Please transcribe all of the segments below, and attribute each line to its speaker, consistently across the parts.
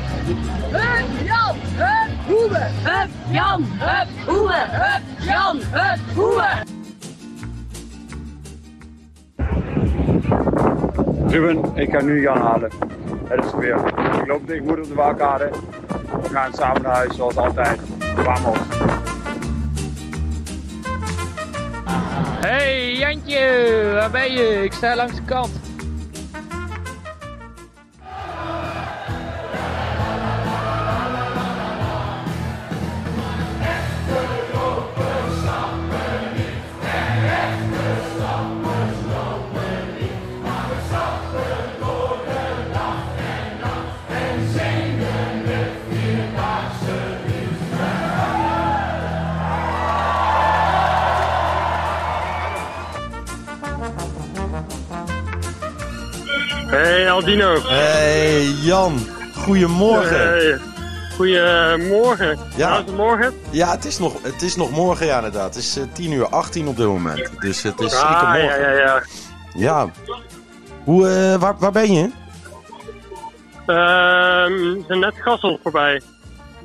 Speaker 1: Hup, Jan, hup, hoewe. Hup, Jan, hup, hoewe. Hup, Jan, hup, hoewe.
Speaker 2: Ruben, ik ga nu Jan halen. Het is weer. Ik loop tegen moeder op de Waalkade. We gaan samen naar huis zoals altijd. Vamos.
Speaker 3: Hey Jantje, waar ben je? Ik sta langs de kant.
Speaker 4: Hey Aldino.
Speaker 5: Hey Jan, goedemorgen.
Speaker 4: Hey. Goedemorgen.
Speaker 5: Ja.
Speaker 4: Goedemorgen.
Speaker 5: Ja, het is nog, het is nog morgen ja inderdaad. Het is eh, 10 uur 18 op dit moment. Dus het is zeker
Speaker 4: ah, ja,
Speaker 5: morgen.
Speaker 4: ja, ja.
Speaker 5: Ja. Hoe, eh, waar, waar ben je?
Speaker 4: Ehm, we zijn net Gassel voorbij.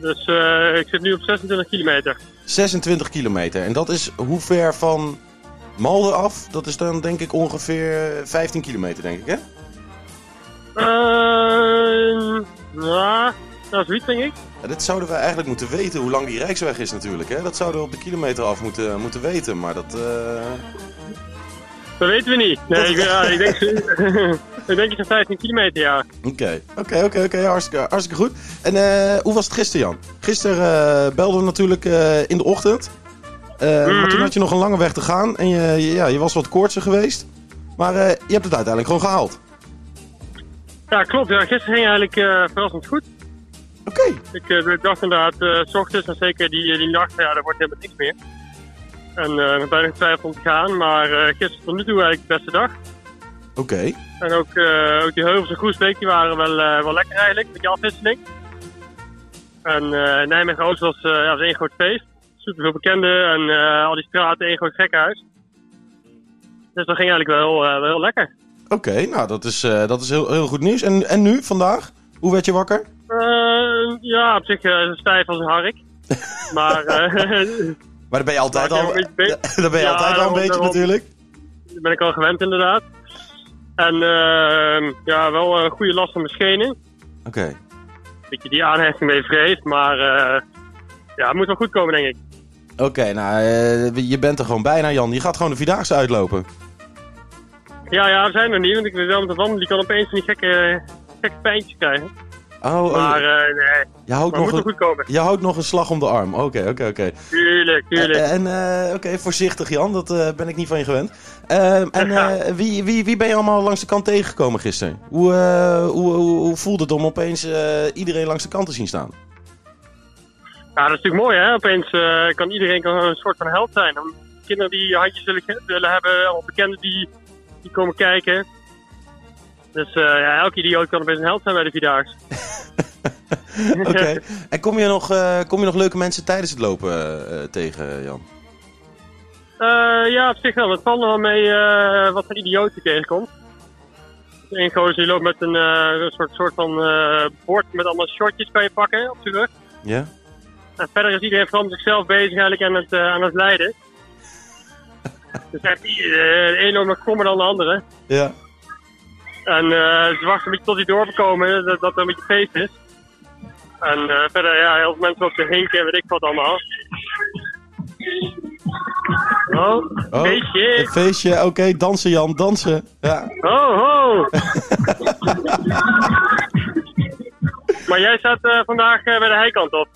Speaker 4: Dus eh, ik zit nu op 26 kilometer.
Speaker 5: 26 kilometer. En dat is hoe ver van Malden af? Dat is dan denk ik ongeveer eh, 15 kilometer denk ik hè?
Speaker 4: Ehm, ja, nou zoiets denk ik.
Speaker 5: Ja, dit zouden we eigenlijk moeten weten hoe lang die Rijksweg is natuurlijk hè? Dat zouden we op de kilometer af moeten, moeten weten. Maar dat... eh,
Speaker 4: Dat weten we niet. Nee,
Speaker 5: Dat-
Speaker 4: ik, ja, ik denk, ik denk zo'n 15 kilometer, ja.
Speaker 5: Oké, oké, oké, oké, hartstikke, hartstikke goed. En eh, hoe was het gisteren, Jan? Gisteren eh, belden we natuurlijk eh, in de ochtend. Eh, Maar
Speaker 4: Mhm.
Speaker 5: toen had je nog een lange weg te gaan en je, je- ja, je was wat koortsig geweest. Maar eh, je hebt het uiteindelijk gewoon gehaald.
Speaker 4: Ja, klopt. Ja. Gisteren ging eigenlijk eh, verrassend goed.
Speaker 5: Oké,
Speaker 4: Ik eh, dacht inderdaad, eh, s ochtends en zeker die, die nacht, ja, daar wordt helemaal niks meer. En eh, ik heb bijna getwijfeld om te gaan, maar eh, gisteren tot nu toe eigenlijk de beste dag.
Speaker 5: oké.
Speaker 4: En ook, eh, ook die heuvels en Groesbeek, die waren wel, eh, wel lekker eigenlijk, met die afwisseling. En eh Nijmegen-Oost was, eh, ja, was één groot feest. Super veel bekenden en eh, al die straten, één groot gekkenhuis. Dus dat ging eigenlijk wel, eh, wel heel lekker.
Speaker 5: Oké, nou dat is, eh, dat is heel, heel goed nieuws. En, en nu, vandaag? Hoe werd je wakker?
Speaker 4: Eh, ja, op zich eh, zo stijf als een hark. Maar eh,
Speaker 5: Maar dan ben je altijd
Speaker 4: Maar ik
Speaker 5: al,
Speaker 4: heb een beetje-
Speaker 5: dan ben je
Speaker 4: Ja, eh,
Speaker 5: altijd al een
Speaker 4: daarom,
Speaker 5: beetje
Speaker 4: daarom.
Speaker 5: natuurlijk.
Speaker 4: Dat ben ik al gewend inderdaad. En ehm, ja, wel een goede last van mijn schenen.
Speaker 5: Oké,
Speaker 4: Beetje die aanhechting mee vreest, maar eh, ja, het moet wel goed komen denk ik.
Speaker 5: oké, nou eh, je bent er gewoon bijna, Jan. Je gaat gewoon de Vierdaagse uitlopen.
Speaker 4: Ja, ja, we zijn er niet, want ik weet wel met de wandel, die kan opeens van die gekke, gekke pijntjes krijgen.
Speaker 5: Oh, oh,
Speaker 4: Maar eh, nee, maar
Speaker 5: je houdt
Speaker 4: het moet
Speaker 5: nog
Speaker 4: wel
Speaker 5: een...
Speaker 4: goed komen.
Speaker 5: Je houdt nog een slag om de arm. Oké, oké, oké.
Speaker 4: Tuurlijk, tuurlijk.
Speaker 5: En, eh, oké, voorzichtig Jan, dat eh, ben ik niet van je gewend. Eh, en eh, wie, wie, wie ben je allemaal langs de kant tegengekomen gisteren? Hoe, eh, hoe, hoe, hoe voelde het om opeens eh, iedereen langs de kant te zien staan?
Speaker 4: Ja, dat is natuurlijk mooi hè. Opeens eh, kan iedereen kan een soort van held zijn. Dan kinderen die handjes willen, willen hebben, allemaal bekenden die, die komen kijken. Dus eh, ja, elke idioot kan opeens een held zijn bij de Vierdaagse.
Speaker 5: Oké. En kom je, nog, eh, kom je nog leuke mensen tijdens het lopen eh, tegen, Jan?
Speaker 4: Eh, ja, op zich wel. Het valt nog wel mee eh, wat voor idioot je tegenkomt. Eén gozer die loopt met een eh, een soort, soort van eh, bord met allemaal shortjes kan je pakken op zijn rug.
Speaker 5: Ja?
Speaker 4: En Nou, verder is iedereen vooral met zichzelf bezig eigenlijk aan het, eh, aan het leiden. Dus echt, eh, de een loopt nog kommer dan de andere.
Speaker 5: Ja.
Speaker 4: En eh, ze wachten een beetje tot die doorkomen, dat, dat er een beetje feest is. En eh, verder, ja, heel veel mensen op de hinken en weet ik wat allemaal. Oh,
Speaker 5: Oh,
Speaker 4: feestje!
Speaker 5: Een feestje, oké, dansen Jan, dansen. Ja.
Speaker 4: Ho, ho! maar jij staat eh, vandaag eh, bij de heikant op.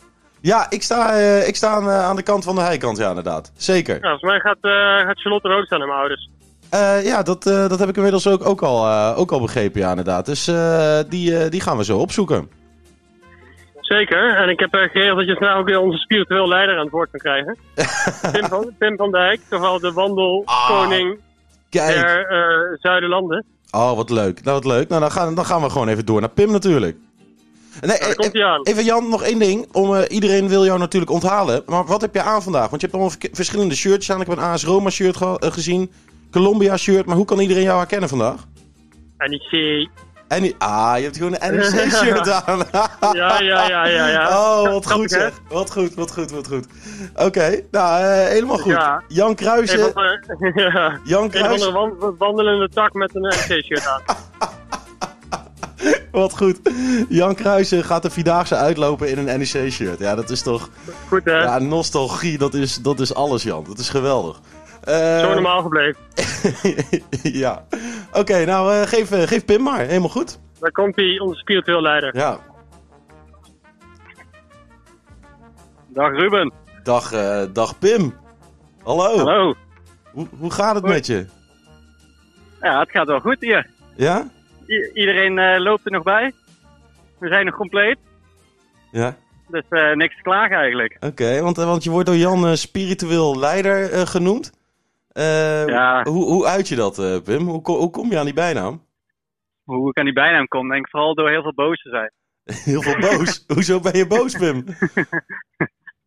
Speaker 5: Ja, ik sta, eh, ik sta aan, eh, aan de kant van de heikant, ja, inderdaad. Zeker.
Speaker 4: Ja, volgens mij gaat, eh, gaat Charlotte er ook staan aan mijn ouders.
Speaker 5: Eh, ja, dat, eh, dat heb ik inmiddels ook, ook, al, eh, ook al begrepen, ja, inderdaad. Dus eh, die, eh, die gaan we zo opzoeken.
Speaker 4: Zeker, en ik heb eh, geregeld dat je vandaag ook weer onze spiritueel leider aan het woord kan krijgen. Pim van, Pim van Dijk, toch wel de
Speaker 5: Ah,
Speaker 4: wandelkoning
Speaker 5: Kijk.
Speaker 4: der eh Zuiderlanden.
Speaker 5: Oh, wat leuk. Nou, wat leuk. Nou, dan gaan, dan gaan we gewoon even door naar Pim natuurlijk. Nee,
Speaker 4: Daar
Speaker 5: eh,
Speaker 4: komt hij aan.
Speaker 5: even Jan, nog één ding. Om, eh, iedereen wil jou natuurlijk onthalen. Maar wat heb je aan vandaag? Want je hebt allemaal verk- verschillende shirts aan. Ik heb een AS Roma shirt geha- eh, gezien. Colombia shirt. Maar hoe kan iedereen jou herkennen vandaag?
Speaker 4: En ik zie
Speaker 5: En die- ah, je hebt gewoon een NEC-shirt aan.
Speaker 4: Ja, ja, ja, ja. ja.
Speaker 5: Ah, Oh, wat
Speaker 4: Grappig,
Speaker 5: goed
Speaker 4: hè?
Speaker 5: zeg. Wat goed, wat goed, wat goed. Oké, nou, eh, helemaal goed.
Speaker 4: Ja.
Speaker 5: Jan
Speaker 4: Een
Speaker 5: Kruijsen,
Speaker 4: van de- ja.
Speaker 5: Jan
Speaker 4: Een van
Speaker 5: Kruijsen,
Speaker 4: de wan- wandelende tak met een NC-shirt aan.
Speaker 5: wat goed. Jan Kruijsen gaat de Vierdaagse uitlopen in een NEC-shirt. Ja, dat is toch...
Speaker 4: Goed hè?
Speaker 5: Ja, nostalgie, dat is, dat is alles, Jan. Dat is geweldig. Eh,
Speaker 4: Zo normaal gebleven.
Speaker 5: ja. Oké, nou, eh, geef, eh, geef Pim maar. Helemaal goed.
Speaker 4: Daar komt hij, onze spiritueel leider.
Speaker 5: Ja.
Speaker 4: Dag Ruben.
Speaker 5: Dag, eh, dag Pim. Hallo.
Speaker 4: Hallo.
Speaker 5: Hoe, hoe gaat het
Speaker 4: Hoi.
Speaker 5: met je?
Speaker 4: Ja, het gaat wel goed hier.
Speaker 5: Ja?
Speaker 4: I- iedereen eh, loopt er nog bij. We zijn nog compleet.
Speaker 5: Ja.
Speaker 4: Dus eh, niks te klagen eigenlijk.
Speaker 5: Oké, want, eh, want je wordt door Jan eh, spiritueel leider eh, genoemd. Eh,
Speaker 4: Ja.
Speaker 5: hoe, hoe uit je dat, eh, Pim? Hoe, ko- hoe kom je aan die bijnaam?
Speaker 4: Hoe ik aan die bijnaam kom, denk ik vooral door heel veel boos te zijn.
Speaker 5: Heel veel boos. Hoezo ben je boos, Pim?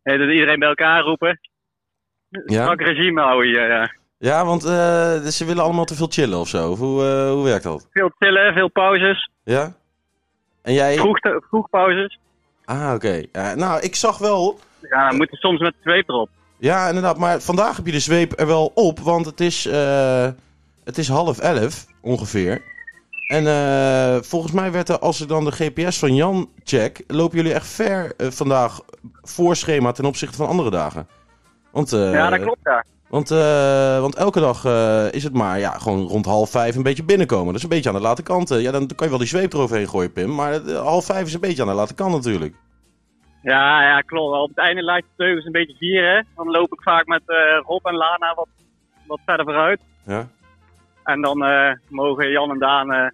Speaker 4: Nee, dat iedereen bij elkaar roepen.
Speaker 5: Ja,
Speaker 4: Strak regime houden hier, ja.
Speaker 5: ja want eh, ze willen allemaal te veel chillen of zo. Of hoe, eh, hoe werkt dat?
Speaker 4: Veel tillen, veel pauzes.
Speaker 5: Ja? En jij...
Speaker 4: Vroeg, vroeg pauzes.
Speaker 5: Ah, oké. Ja, nou, ik zag wel...
Speaker 4: Ja, dan moeten soms met de zweep erop.
Speaker 5: Ja, inderdaad. Maar vandaag heb je de zweep er wel op, want het is, eh, het is half elf ongeveer. En eh, volgens mij werd er, als ik dan de GPS van Jan check, lopen jullie echt ver eh, vandaag voor schema ten opzichte van andere dagen. Want, eh,
Speaker 4: Ja, dat klopt, ja.
Speaker 5: Want, eh, want elke dag eh, is het maar ja, gewoon rond half vijf een beetje binnenkomen. Dat is een beetje aan de late kant. eh. Ja, dan kan je wel die zweep eroverheen gooien, Pim. Maar eh, half vijf is een beetje aan de late kant natuurlijk.
Speaker 4: Ja, ja, klopt. Op het einde laat je de teugels een beetje vieren. Dan loop ik vaak met eh, Rob en Lana wat, wat verder vooruit.
Speaker 5: Ja.
Speaker 4: En dan eh, mogen Jan en Daan eh,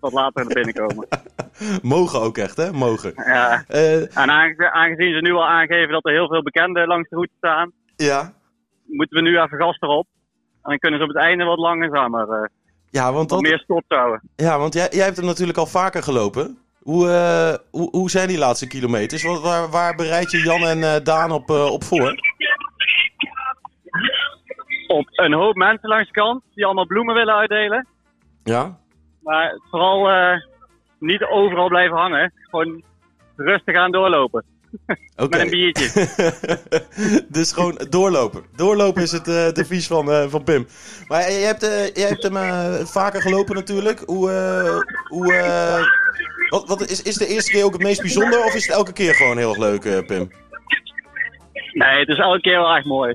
Speaker 4: wat later naar binnen komen.
Speaker 5: Mogen ook echt, hè? Mogen.
Speaker 4: Ja.
Speaker 5: Eh,
Speaker 4: En aange- aangezien ze nu al aangeven dat er heel veel bekenden langs de route staan,
Speaker 5: ja.
Speaker 4: moeten we nu even gas erop. En dan kunnen ze op het einde wat langzamer, eh
Speaker 5: Ja, want
Speaker 4: wat
Speaker 5: dat,
Speaker 4: meer stop houden.
Speaker 5: Ja, want jij, jij hebt hem natuurlijk al vaker gelopen. Hoe, eh, hoe, hoe zijn die laatste kilometers? Wat, waar, waar bereid je Jan en eh, Daan op, eh, op voor?
Speaker 4: Op een hoop mensen langs de kant die allemaal bloemen willen uitdelen.
Speaker 5: Ja?
Speaker 4: Maar vooral eh, niet overal blijven hangen. Gewoon rustig aan doorlopen.
Speaker 5: Oké.
Speaker 4: Met een biertje.
Speaker 5: dus gewoon doorlopen. Doorlopen is het eh devies van, eh, van Pim. Maar je hebt, eh, je hebt hem eh, vaker gelopen natuurlijk. Hoe, eh, hoe, eh, wat, wat is, is de eerste keer ook het meest bijzonder? Of is het elke keer gewoon heel erg leuk, eh, Pim?
Speaker 4: Nee, het is elke keer wel echt mooi.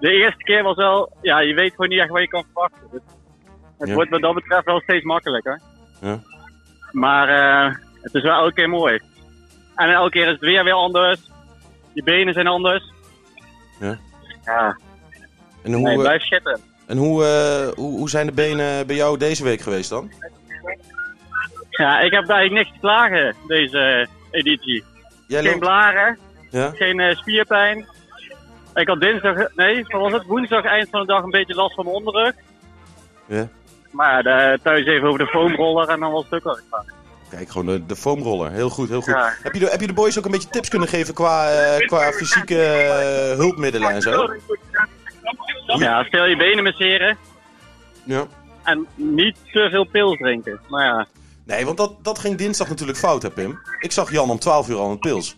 Speaker 4: De eerste keer was wel, ja, je weet gewoon niet echt wat je kan verwachten. Dus het
Speaker 5: Ja.
Speaker 4: wordt wat dat betreft wel steeds makkelijker.
Speaker 5: Ja.
Speaker 4: Maar eh, het is wel elke keer mooi. En elke keer is het weer weer anders. Je benen zijn anders.
Speaker 5: Ja.
Speaker 4: Ja,
Speaker 5: En hoe,
Speaker 4: nee,
Speaker 5: eh,
Speaker 4: blijf schitteren.
Speaker 5: en hoe, eh, hoe, hoe zijn de benen bij jou deze week geweest dan?
Speaker 4: Ja, ik heb daar eigenlijk niks te klagen, deze eh, editie.
Speaker 5: Jij
Speaker 4: Geen
Speaker 5: loopt...
Speaker 4: blaren,
Speaker 5: Ja?
Speaker 4: geen eh, spierpijn. Ik had dinsdag, nee, wat was het? Woensdag eind van de dag een beetje last van mijn onderrug.
Speaker 5: Ja.
Speaker 4: Maar ja, de- thuis even over de foamroller en dan was het ook al gegaan.
Speaker 5: Kijk, gewoon de, de foamroller. Heel goed, heel goed.
Speaker 4: Ja.
Speaker 5: Heb, je de, heb je de boys ook een beetje tips kunnen geven qua, eh, qua fysieke eh, hulpmiddelen en zo?
Speaker 4: Ja, stel je benen masseren
Speaker 5: Ja.
Speaker 4: en niet te veel pils drinken. Maar ja,
Speaker 5: Nee, want dat, dat ging dinsdag natuurlijk fout, hè Pim? Ik zag Jan om 12 uur al een pils.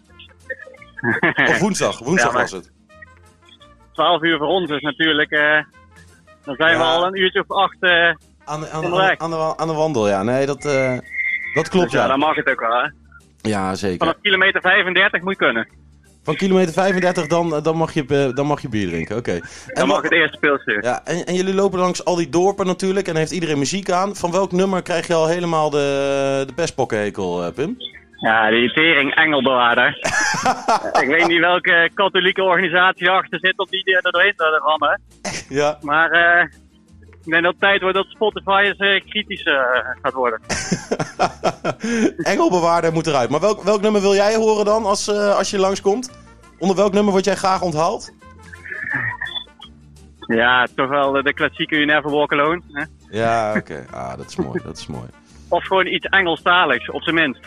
Speaker 5: Of woensdag, woensdag
Speaker 4: Ja, maar-
Speaker 5: was het.
Speaker 4: 12 uur voor ons is natuurlijk... eh, dan zijn we
Speaker 5: Ja.
Speaker 4: al een uurtje of acht. eh,
Speaker 5: Aan, aan, aan,
Speaker 4: Inderdaad.
Speaker 5: aan de, wa- aan de wandel, ja. Nee, dat, eh, dat klopt,
Speaker 4: dus ja, dan
Speaker 5: ja.
Speaker 4: mag het ook wel. Hè?
Speaker 5: Ja, zeker.
Speaker 4: Vanaf kilometer 35 moet je kunnen.
Speaker 5: Van kilometer 35, dan, eh, dan, mag, je, eh, dan mag je bier drinken, oké.
Speaker 4: Dan
Speaker 5: En
Speaker 4: mag
Speaker 5: wat-
Speaker 4: het eerste pilsje.
Speaker 5: Ja, en, en jullie lopen langs al die dorpen natuurlijk en heeft iedereen muziek aan. Van welk nummer krijg je al helemaal de, de pestpokkenhekel, eh, Pim?
Speaker 4: Ja, die tering engelbewaarder. Ik weet niet welke katholieke organisatie erachter zit om die er doorheen te rammen.
Speaker 5: Ja,
Speaker 4: Maar eh ik denk dat het tijd wordt dat Spotify eens eh, kritisch eh, gaat worden.
Speaker 5: Engelbewaarder moet eruit. Maar welk, welk nummer wil jij horen dan als, eh, als je langskomt? Onder welk nummer word jij graag onthaald?
Speaker 4: Ja, toch wel eh, de klassieke You Never Walk Alone. Hè?
Speaker 5: Ja, oké. Ah, dat is mooi. Dat is mooi.
Speaker 4: Of gewoon iets Engelstaligs, op zijn minst.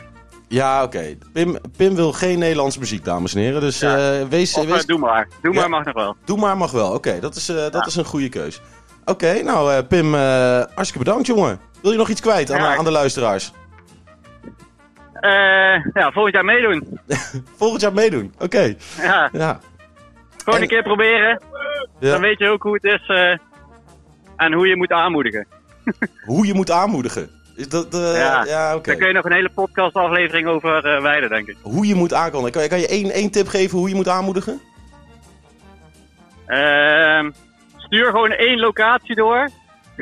Speaker 5: Ja, oké. Pim, Pim wil geen Nederlandse muziek, dames en heren. Dus
Speaker 4: Ja.
Speaker 5: eh, wees,
Speaker 4: Of eh,
Speaker 5: wees...
Speaker 4: doe maar. Doe
Speaker 5: Ja.
Speaker 4: maar mag nog wel.
Speaker 5: Doe maar mag wel. Oké, dat, is, eh, dat is een goede keus. Oké, nou eh, Pim, eh hartstikke bedankt, jongen. Wil je nog iets kwijt aan,
Speaker 4: Ja,
Speaker 5: de-
Speaker 4: ik-
Speaker 5: aan de luisteraars?
Speaker 4: Eh, ja, volgend jaar meedoen.
Speaker 5: Volgend jaar meedoen. Oké.
Speaker 4: Ja,
Speaker 5: Ja.
Speaker 4: gewoon
Speaker 5: En-
Speaker 4: een keer proberen. Dan
Speaker 5: ja.
Speaker 4: weet je ook hoe het is eh, en hoe je moet aanmoedigen.
Speaker 5: Hoe je moet aanmoedigen. Is dat, eh, ja,
Speaker 4: Ja.
Speaker 5: oké.
Speaker 4: Daar kun je nog een hele podcastaflevering over eh wijden, denk ik.
Speaker 5: Hoe je moet aankondigen. Kan, je- kan je één, één tip geven hoe je moet aanmoedigen?
Speaker 4: Ehm, stuur gewoon één locatie door.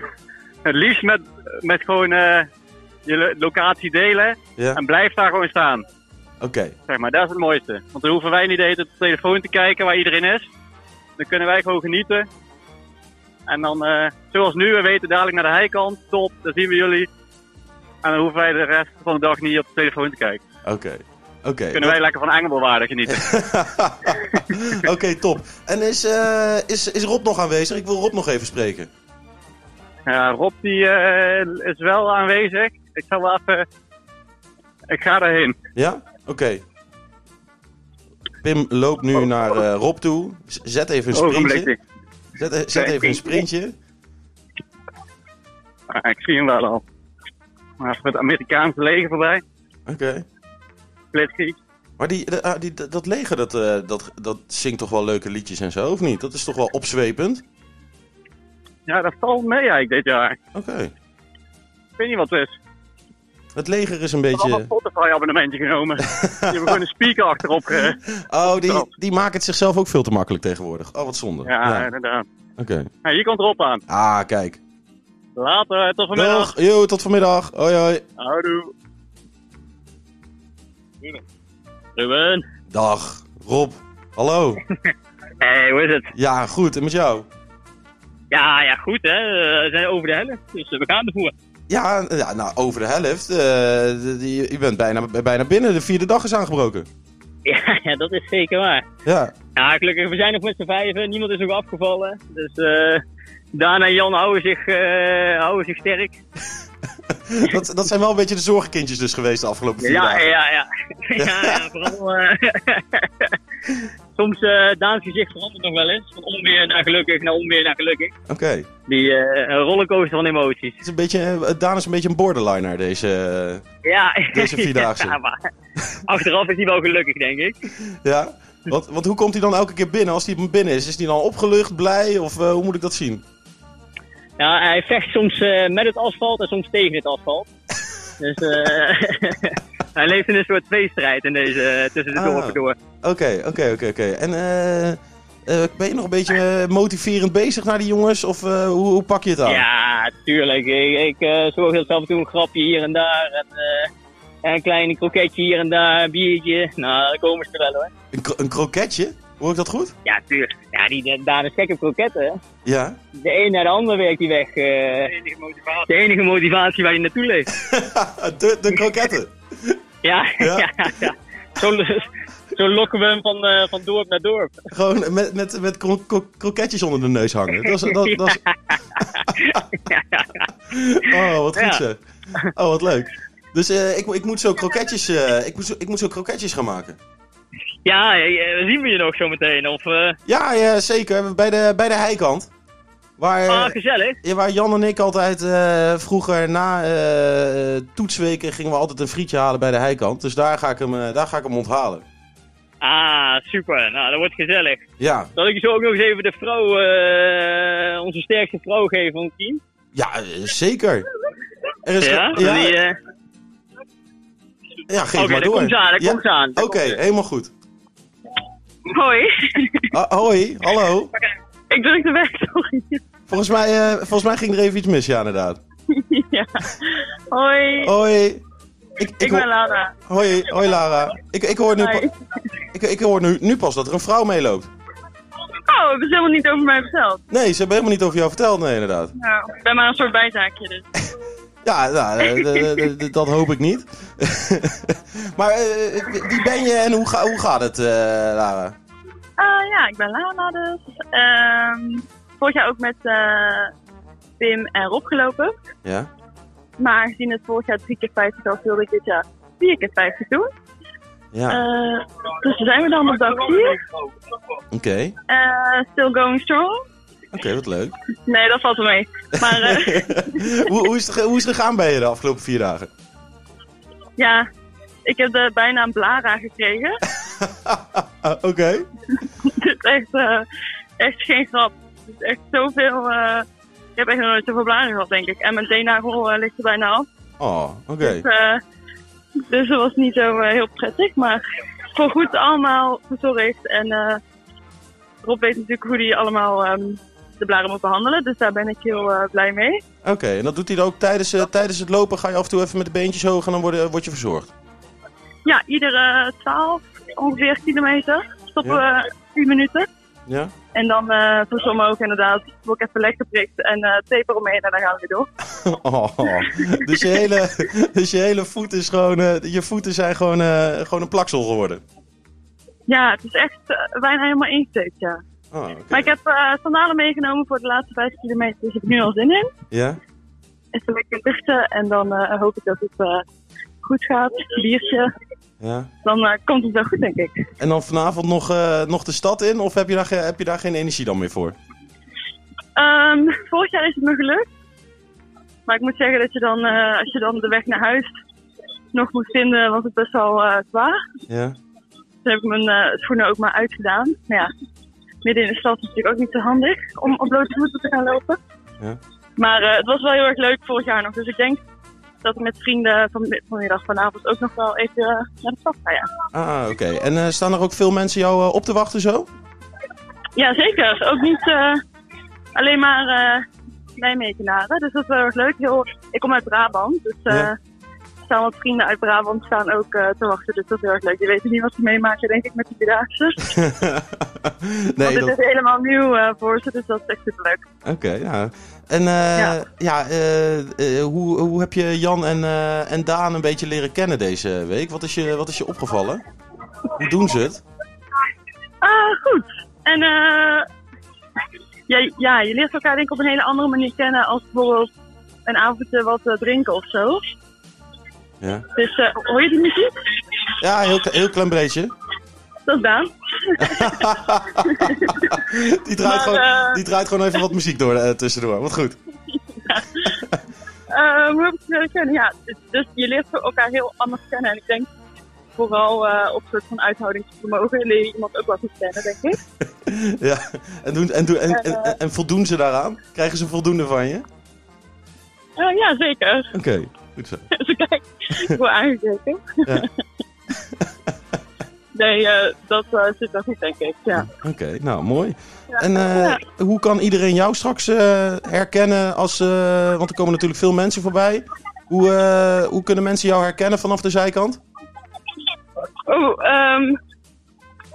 Speaker 4: Het liefst met, met gewoon eh, je lo- locatie delen.
Speaker 5: Ja.
Speaker 4: En blijf daar gewoon staan.
Speaker 5: Oké.
Speaker 4: Zeg maar, dat is het mooiste. Want dan hoeven wij niet de hele tijd op de telefoon te kijken waar iedereen is. Dan kunnen wij gewoon genieten. En dan, eh, zoals nu, we weten dadelijk naar de heikant. Top, dan zien we jullie. En dan hoeven wij de rest van de dag niet op de telefoon te kijken.
Speaker 5: Oké. Oké.
Speaker 4: Kunnen wij lekker van Engelbewaarden genieten.
Speaker 5: Oké, top. En is, eh, is, is Rob nog aanwezig? Ik wil Rob nog even spreken.
Speaker 4: Ja, Rob die, eh, is wel aanwezig. Ik zal wel even... Ik ga erheen.
Speaker 5: Ja? Oké. Pim loopt nu
Speaker 4: Oh.
Speaker 5: naar eh, Rob toe. Z- Zet even een sprintje.
Speaker 4: Ogenblikje.
Speaker 5: Zet, e- zet even een sprintje.
Speaker 4: Ah, ik zie hem wel al. Maar even het Amerikaanse leger voorbij.
Speaker 5: Oké.
Speaker 4: Blitzkrieg.
Speaker 5: Maar die, de- ah, die, dat dat leger, dat, eh, dat, dat zingt toch wel leuke liedjes en zo, of niet? Dat is toch wel opzwepend?
Speaker 4: Ja, dat valt mee eigenlijk dit jaar.
Speaker 5: Oké.
Speaker 4: Ik weet niet wat het is.
Speaker 5: Het leger is een
Speaker 4: Ik heb allemaal
Speaker 5: beetje...
Speaker 4: Spotify-abonnementje genomen. Die hebben gewoon een speaker achterop. eh. ge-
Speaker 5: Oh, die, die maakt het zichzelf ook veel te makkelijk tegenwoordig. Oh, wat zonde.
Speaker 4: Ja,
Speaker 5: Ja, Oké.
Speaker 4: inderdaad. Nou, hier komt erop aan.
Speaker 5: Ah, kijk.
Speaker 4: Later, tot vanmiddag.
Speaker 5: Dag. Yo, tot vanmiddag. Hoi, hoi.
Speaker 4: Houdoe. Ruben.
Speaker 5: Dag, Rob. Hallo.
Speaker 4: Hey, hoe is het?
Speaker 5: Ja, goed. En met jou?
Speaker 4: Ja, ja, goed hè. Eh, We zijn over de helft, dus we gaan ervoor.
Speaker 5: Ja, ja nou, over de helft. eh, de- die- je bent bijna, bijna binnen. De vierde dag is aangebroken.
Speaker 4: Ja, ja, dat is zeker waar.
Speaker 5: Ja.
Speaker 4: Ja, gelukkig, we zijn nog met z'n vijven. Niemand is nog afgevallen. Dus eh Daan en Jan houden zich, eh, houden zich sterk.
Speaker 5: Dat, dat zijn wel een beetje de zorgenkindjes dus geweest de afgelopen vier
Speaker 4: Ja,
Speaker 5: dagen.
Speaker 4: ja, ja. Ja, ja, vooral. eh, Soms eh Daans gezicht verandert nog wel eens. Van onweer naar gelukkig naar onweer naar gelukkig.
Speaker 5: Oké.
Speaker 4: Die eh, rollercoaster van emoties.
Speaker 5: Het is een beetje, eh, Daan is een beetje een borderliner deze... eh,
Speaker 4: Ja,
Speaker 5: Deze Vierdaagse.
Speaker 4: Ja, maar achteraf is hij wel gelukkig, denk ik.
Speaker 5: Ja? Want, want hoe komt hij dan elke keer binnen? Als hij binnen is, is hij dan opgelucht, blij? Of eh, hoe moet ik dat zien?
Speaker 4: Ja, hij vecht soms eh, met het asfalt en soms tegen het asfalt. Dus eh, hij leeft in een soort tweestrijd in deze, eh, tussen de
Speaker 5: Ah.
Speaker 4: dorpen door.
Speaker 5: Oké, oké, oké, oké. En eh, eh, ben je nog een beetje eh, motiverend bezig naar die jongens? Of eh, hoe, hoe pak je het aan?
Speaker 4: Ja, tuurlijk. Ik, ik eh, zorg dat af en toe een grapje hier en daar. En, eh, en een klein kroketje hier en daar, een biertje. Nou, daar komen ze er wel hoor.
Speaker 5: Een, kro- een kroketje? Hoor ik dat goed?
Speaker 4: Ja, tuurlijk. Ja, die de- daar is gekke kroketten. hè.
Speaker 5: Ja.
Speaker 4: De een naar de ander werkt die weg. de, enige motivatie. de enige motivatie waar je naartoe leeft.
Speaker 5: de, de kroketten.
Speaker 4: ja,
Speaker 5: Ja.
Speaker 4: ja, ja. Zo, zo lokken we hem van, eh, van dorp naar dorp.
Speaker 5: Gewoon met, met, met kro- kro- kroketjes onder de neus hangen. Dat is, dat, dat is... oh, wat goed
Speaker 4: Ja.
Speaker 5: zeg. Oh, wat leuk. Dus eh, ik, mo- ik, moet zo kroketjes, eh, ik, moet zo, ik moet zo kroketjes gaan maken.
Speaker 4: Ja, eh, eh, zien we je nog zo meteen. Of, eh,
Speaker 5: Ja, ja zeker. Bij de, bij de heikant. Waar,
Speaker 4: ah, gezellig.
Speaker 5: Ja, waar Jan en ik altijd eh, vroeger na eh, toetsweken gingen we altijd een frietje halen bij de heikant. Dus daar ga ik hem, eh, daar ga ik hem onthalen.
Speaker 4: Ah, super. Nou, dat wordt gezellig.
Speaker 5: Ja,
Speaker 4: Dat ik zo ook nog eens even de vrouw, eh, onze sterkste vrouw geven van het team.
Speaker 5: ja eh, zeker. Er is
Speaker 4: Ja?
Speaker 5: ge- Dus- ja,
Speaker 4: Die, eh,
Speaker 5: ja, geef
Speaker 4: Oké,
Speaker 5: maar
Speaker 4: dat
Speaker 5: door.
Speaker 4: komt ze aan, dat
Speaker 5: Ja,
Speaker 4: komt ze aan.
Speaker 5: Oké,
Speaker 4: dat komt ze.
Speaker 5: helemaal goed.
Speaker 4: Hoi,
Speaker 5: Ah, hoi, hallo.
Speaker 4: ik drukte weg, sorry.
Speaker 5: Volgens mij, eh, volgens mij ging er even iets mis, ja inderdaad.
Speaker 4: ja. Hoi,
Speaker 5: Hoi. Ik, ik,
Speaker 4: ik ben
Speaker 5: hoor-
Speaker 4: Lana.
Speaker 5: hoi, hoi Lara. Ik, ik hoor, nu,
Speaker 1: Hoi.
Speaker 5: pa- ik, ik hoor nu, nu pas dat er een vrouw meeloopt.
Speaker 1: Oh, het is helemaal niet over mij verteld.
Speaker 5: Nee, ze hebben helemaal niet over jou verteld, nee inderdaad.
Speaker 1: Nou, ik ben maar een soort bijzaakje dus.
Speaker 5: Ja, nou, eh, d- d- d- dat hoop ik niet. maar eh, wie ben je en hoe, ga, hoe gaat het, eh, Lara?
Speaker 1: Eh, ja, ik ben Lana dus. Ehm, vorig jaar ook met eh, Pim en Rob gelopen.
Speaker 5: Ja?
Speaker 1: Maar aangezien het vorig jaar drie keer 50 was, wilde ik dit jaar vier keer 50 doen.
Speaker 5: Ja,
Speaker 1: Eh, dus daar zijn we dan op dag 4.
Speaker 5: oké.
Speaker 1: still eh, going strong.
Speaker 5: wat leuk.
Speaker 6: Nee, dat valt wel mee. Maar eh,
Speaker 5: hoe, hoe, is het, ge- hoe is het gegaan bij je de afgelopen vier dagen?
Speaker 6: ja, ik heb
Speaker 4: eh,
Speaker 6: de bijnaam Blara gekregen.
Speaker 5: Ah, Oké.
Speaker 6: Het is echt, eh, echt geen grap. Het is echt zoveel... eh, ik heb echt nog nooit zoveel blaren gehad, denk ik. En mijn teennagel eh, ligt er bijna af.
Speaker 5: Oh, oké.
Speaker 6: Eh, dus dat was niet zo eh, heel prettig, maar voorgoed allemaal verzorgd. En eh, Rob weet natuurlijk hoe hij allemaal ehm, de blaren moet behandelen, dus daar ben ik heel eh, blij mee.
Speaker 5: Oké, en dat doet hij dan ook tijdens, eh, tijdens het lopen. Ga je af en toe even met de beentjes hoog en dan word, je- word je verzorgd.
Speaker 6: Ja, iedere 12, ongeveer kilometer stoppen we 10 minuten.
Speaker 5: Ja?
Speaker 6: En dan eh voor sommigen ook inderdaad, word ik even lek geprikt en eh tape omheen en dan gaan we weer door.
Speaker 5: Oh, dus, je hele, dus je hele voet is gewoon... eh, je voeten zijn gewoon, eh, gewoon een plaksel geworden.
Speaker 6: Ja, het is echt eh, bijna helemaal ingesteekt, ja.
Speaker 5: Oh, oké.
Speaker 6: Maar ik heb eh sandalen meegenomen voor de laatste 5 kilometer, dus ik heb nu al zin in.
Speaker 5: Ja?
Speaker 6: even lekker luchten en dan eh, hoop ik dat het eh, goed gaat. Biertje,
Speaker 5: Ja.
Speaker 6: dan eh, komt het wel goed, denk ik.
Speaker 5: En dan vanavond nog, eh, nog de stad in? Of heb je, daar, ge- heb je daar geen energie dan meer voor?
Speaker 6: Ehm, vorig jaar is het me gelukt. Maar ik moet zeggen dat je dan, eh, als je dan de weg naar huis nog moet vinden, was het best wel eh, zwaar.
Speaker 5: Ja?
Speaker 6: Toen heb ik mijn eh, schoenen ook maar uitgedaan. Maar ja, midden in de stad is natuurlijk ook niet zo handig om op blote voeten te gaan lopen.
Speaker 5: Ja.
Speaker 6: Maar eh, het was wel heel erg leuk vorig jaar nog. Dus ik denk dat ik met vrienden van, vanmiddag vanavond ook nog wel even eh, naar de stad ga. Ja.
Speaker 5: Ah, oké. En eh, staan er ook veel mensen jou eh, op te wachten zo?
Speaker 6: Ja, zeker. Ook niet eh, alleen maar eh Nijmegenaren. Dus dat is wel erg leuk. Heel, ik kom uit Brabant, dus eh,
Speaker 5: Ja.
Speaker 6: er staan wat vrienden uit Brabant staan ook eh, te wachten. Dus dat is heel erg leuk. Die weten niet wat ze meemaken, denk ik, met die Vierdaagse.
Speaker 5: nee,
Speaker 6: Want
Speaker 5: dat...
Speaker 6: dit is helemaal nieuw eh, voor ze, dus dat is echt superleuk.
Speaker 5: Oké, ja. En eh, ja,
Speaker 6: Ja.
Speaker 5: eh, eh, hoe, hoe heb je Jan en, eh, en Daan een beetje leren kennen deze week? Wat is je, wat is je opgevallen? Hoe doen ze het?
Speaker 6: Ah, goed. En eh, ja, ja, je leert elkaar denk ik op een hele andere manier kennen als bijvoorbeeld een avondje wat eh, drinken of zo.
Speaker 5: Ja,
Speaker 6: Dus eh, hoor je die muziek?
Speaker 5: ja heel, kle- heel klein breedje.
Speaker 6: Dat is Daan.
Speaker 5: Die draait,
Speaker 6: Maar,
Speaker 5: gewoon,
Speaker 6: eh,
Speaker 5: die draait gewoon even wat muziek door, eh, tussendoor. Wat goed.
Speaker 6: Eh, hoe heb ik het leren kennen? Ja, dus, dus je leert elkaar heel anders kennen. En ik denk vooral eh, op soort van uithoudingsvermogen leer je iemand ook wel goed kennen, denk ik.
Speaker 5: Ja. En, doen, en, doen, en, en, en- en voldoen ze daaraan? Krijgen ze voldoende van je?
Speaker 6: Eh, ja, zeker.
Speaker 5: Oké, goed zo.
Speaker 6: Dus kijk, ik word aangekeken.
Speaker 5: Ja.
Speaker 6: nee, eh, dat eh, zit wel goed, denk ik. Ja.
Speaker 5: Oké, nou mooi. En eh,
Speaker 6: Ja.
Speaker 5: hoe kan iedereen jou straks eh, herkennen als... eh, want er komen natuurlijk veel mensen voorbij. Hoe, eh, hoe kunnen mensen jou herkennen vanaf de zijkant?
Speaker 6: Oh, ehm,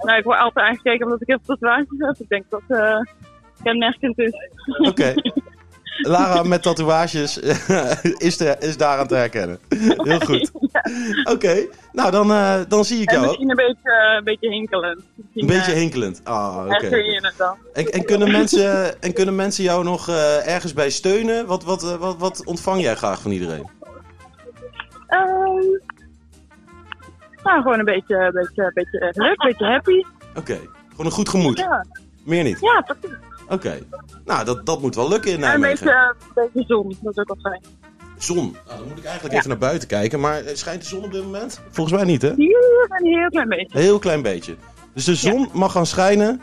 Speaker 6: nou, ik word altijd aangekeken omdat ik heel veel tatoeages heb. Ik denk dat eh kenmerkend is.
Speaker 5: Oké. Lara met tatoeages is, te, is daaraan te herkennen. Heel goed. Oké, nou dan, eh, dan zie ik
Speaker 6: En
Speaker 5: jou. ook.
Speaker 6: misschien eh, een beetje, eh, een beetje hinkelend.
Speaker 5: Een beetje hinkelend. Ah, oké.
Speaker 6: je het dan.
Speaker 5: En, en, kunnen mensen, en kunnen mensen jou nog eh, ergens bij steunen? Wat, wat, eh, wat, wat ontvang jij graag van iedereen?
Speaker 6: Ehm, nou, gewoon een beetje, een beetje, een beetje eh, leuk, een beetje happy.
Speaker 5: Oké, gewoon een goed gemoed.
Speaker 6: Ja,
Speaker 5: Meer niet.
Speaker 6: ja precies.
Speaker 5: Oké. Nou, dat, dat moet wel lukken in
Speaker 6: En een
Speaker 5: Nijmegen.
Speaker 6: beetje, eh, een beetje zon, dat is ook wel fijn.
Speaker 5: Zon. Nou, dan moet ik eigenlijk even naar buiten kijken. Maar eh, schijnt de zon op dit moment? Volgens mij niet, hè?
Speaker 6: Hier een heel klein beetje.
Speaker 5: Een heel klein beetje. Dus de zon mag gaan schijnen.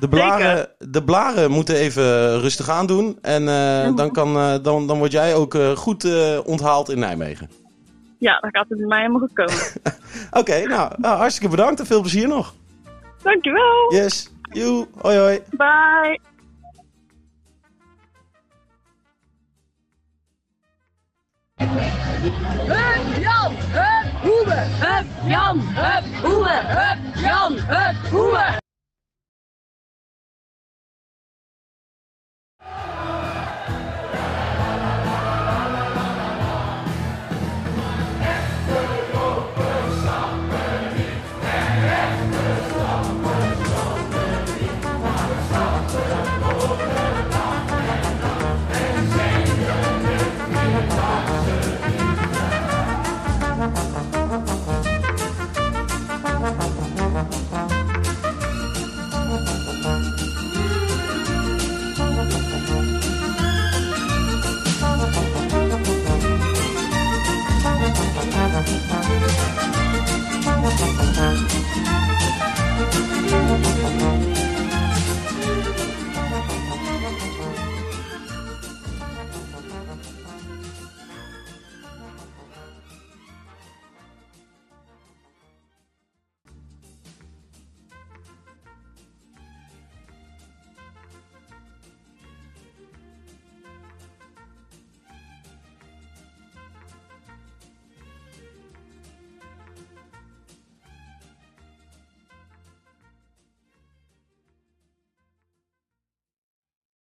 Speaker 5: De blaren, de blaren moeten even eh, rustig aan doen. En eh, dan, kan, eh, dan, dan word jij ook eh, goed eh, onthaald in Nijmegen.
Speaker 6: Ja, dan gaat het bij mij helemaal goed komen.
Speaker 5: Oké, nou, nou, hartstikke bedankt en veel plezier nog.
Speaker 6: Dankjewel,
Speaker 5: Yes. Joe. Hoi hoi.
Speaker 6: bye.
Speaker 1: Hup Jan, hup Hoebe, hup Jan, hup Hoebe, hup Jan, hup Hoebe.